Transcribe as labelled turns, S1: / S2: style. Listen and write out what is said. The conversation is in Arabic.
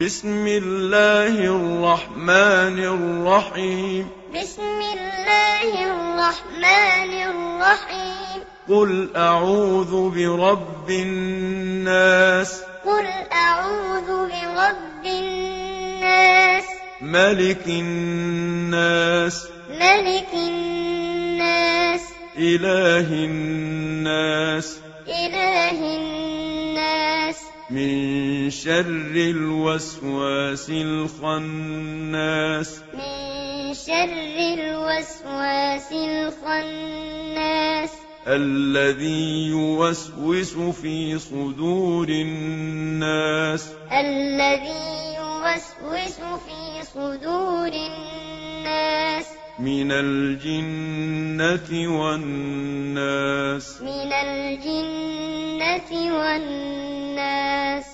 S1: بسم الله الرحمن الرحيم
S2: بسم الله الرحمن الرحيم
S1: قل أعوذ برب الناس
S2: قل أعوذ برب الناس
S1: ملك الناس
S2: ملك الناس
S1: إله الناس
S2: إله الناس
S1: من شر الوسواس الخناس
S2: من شر الوسواس الخناس
S1: الذي يوسوس في صدور الناس
S2: الذي يوسوس في صدور الناس
S1: من الجنة والناس
S2: من الجنة والناس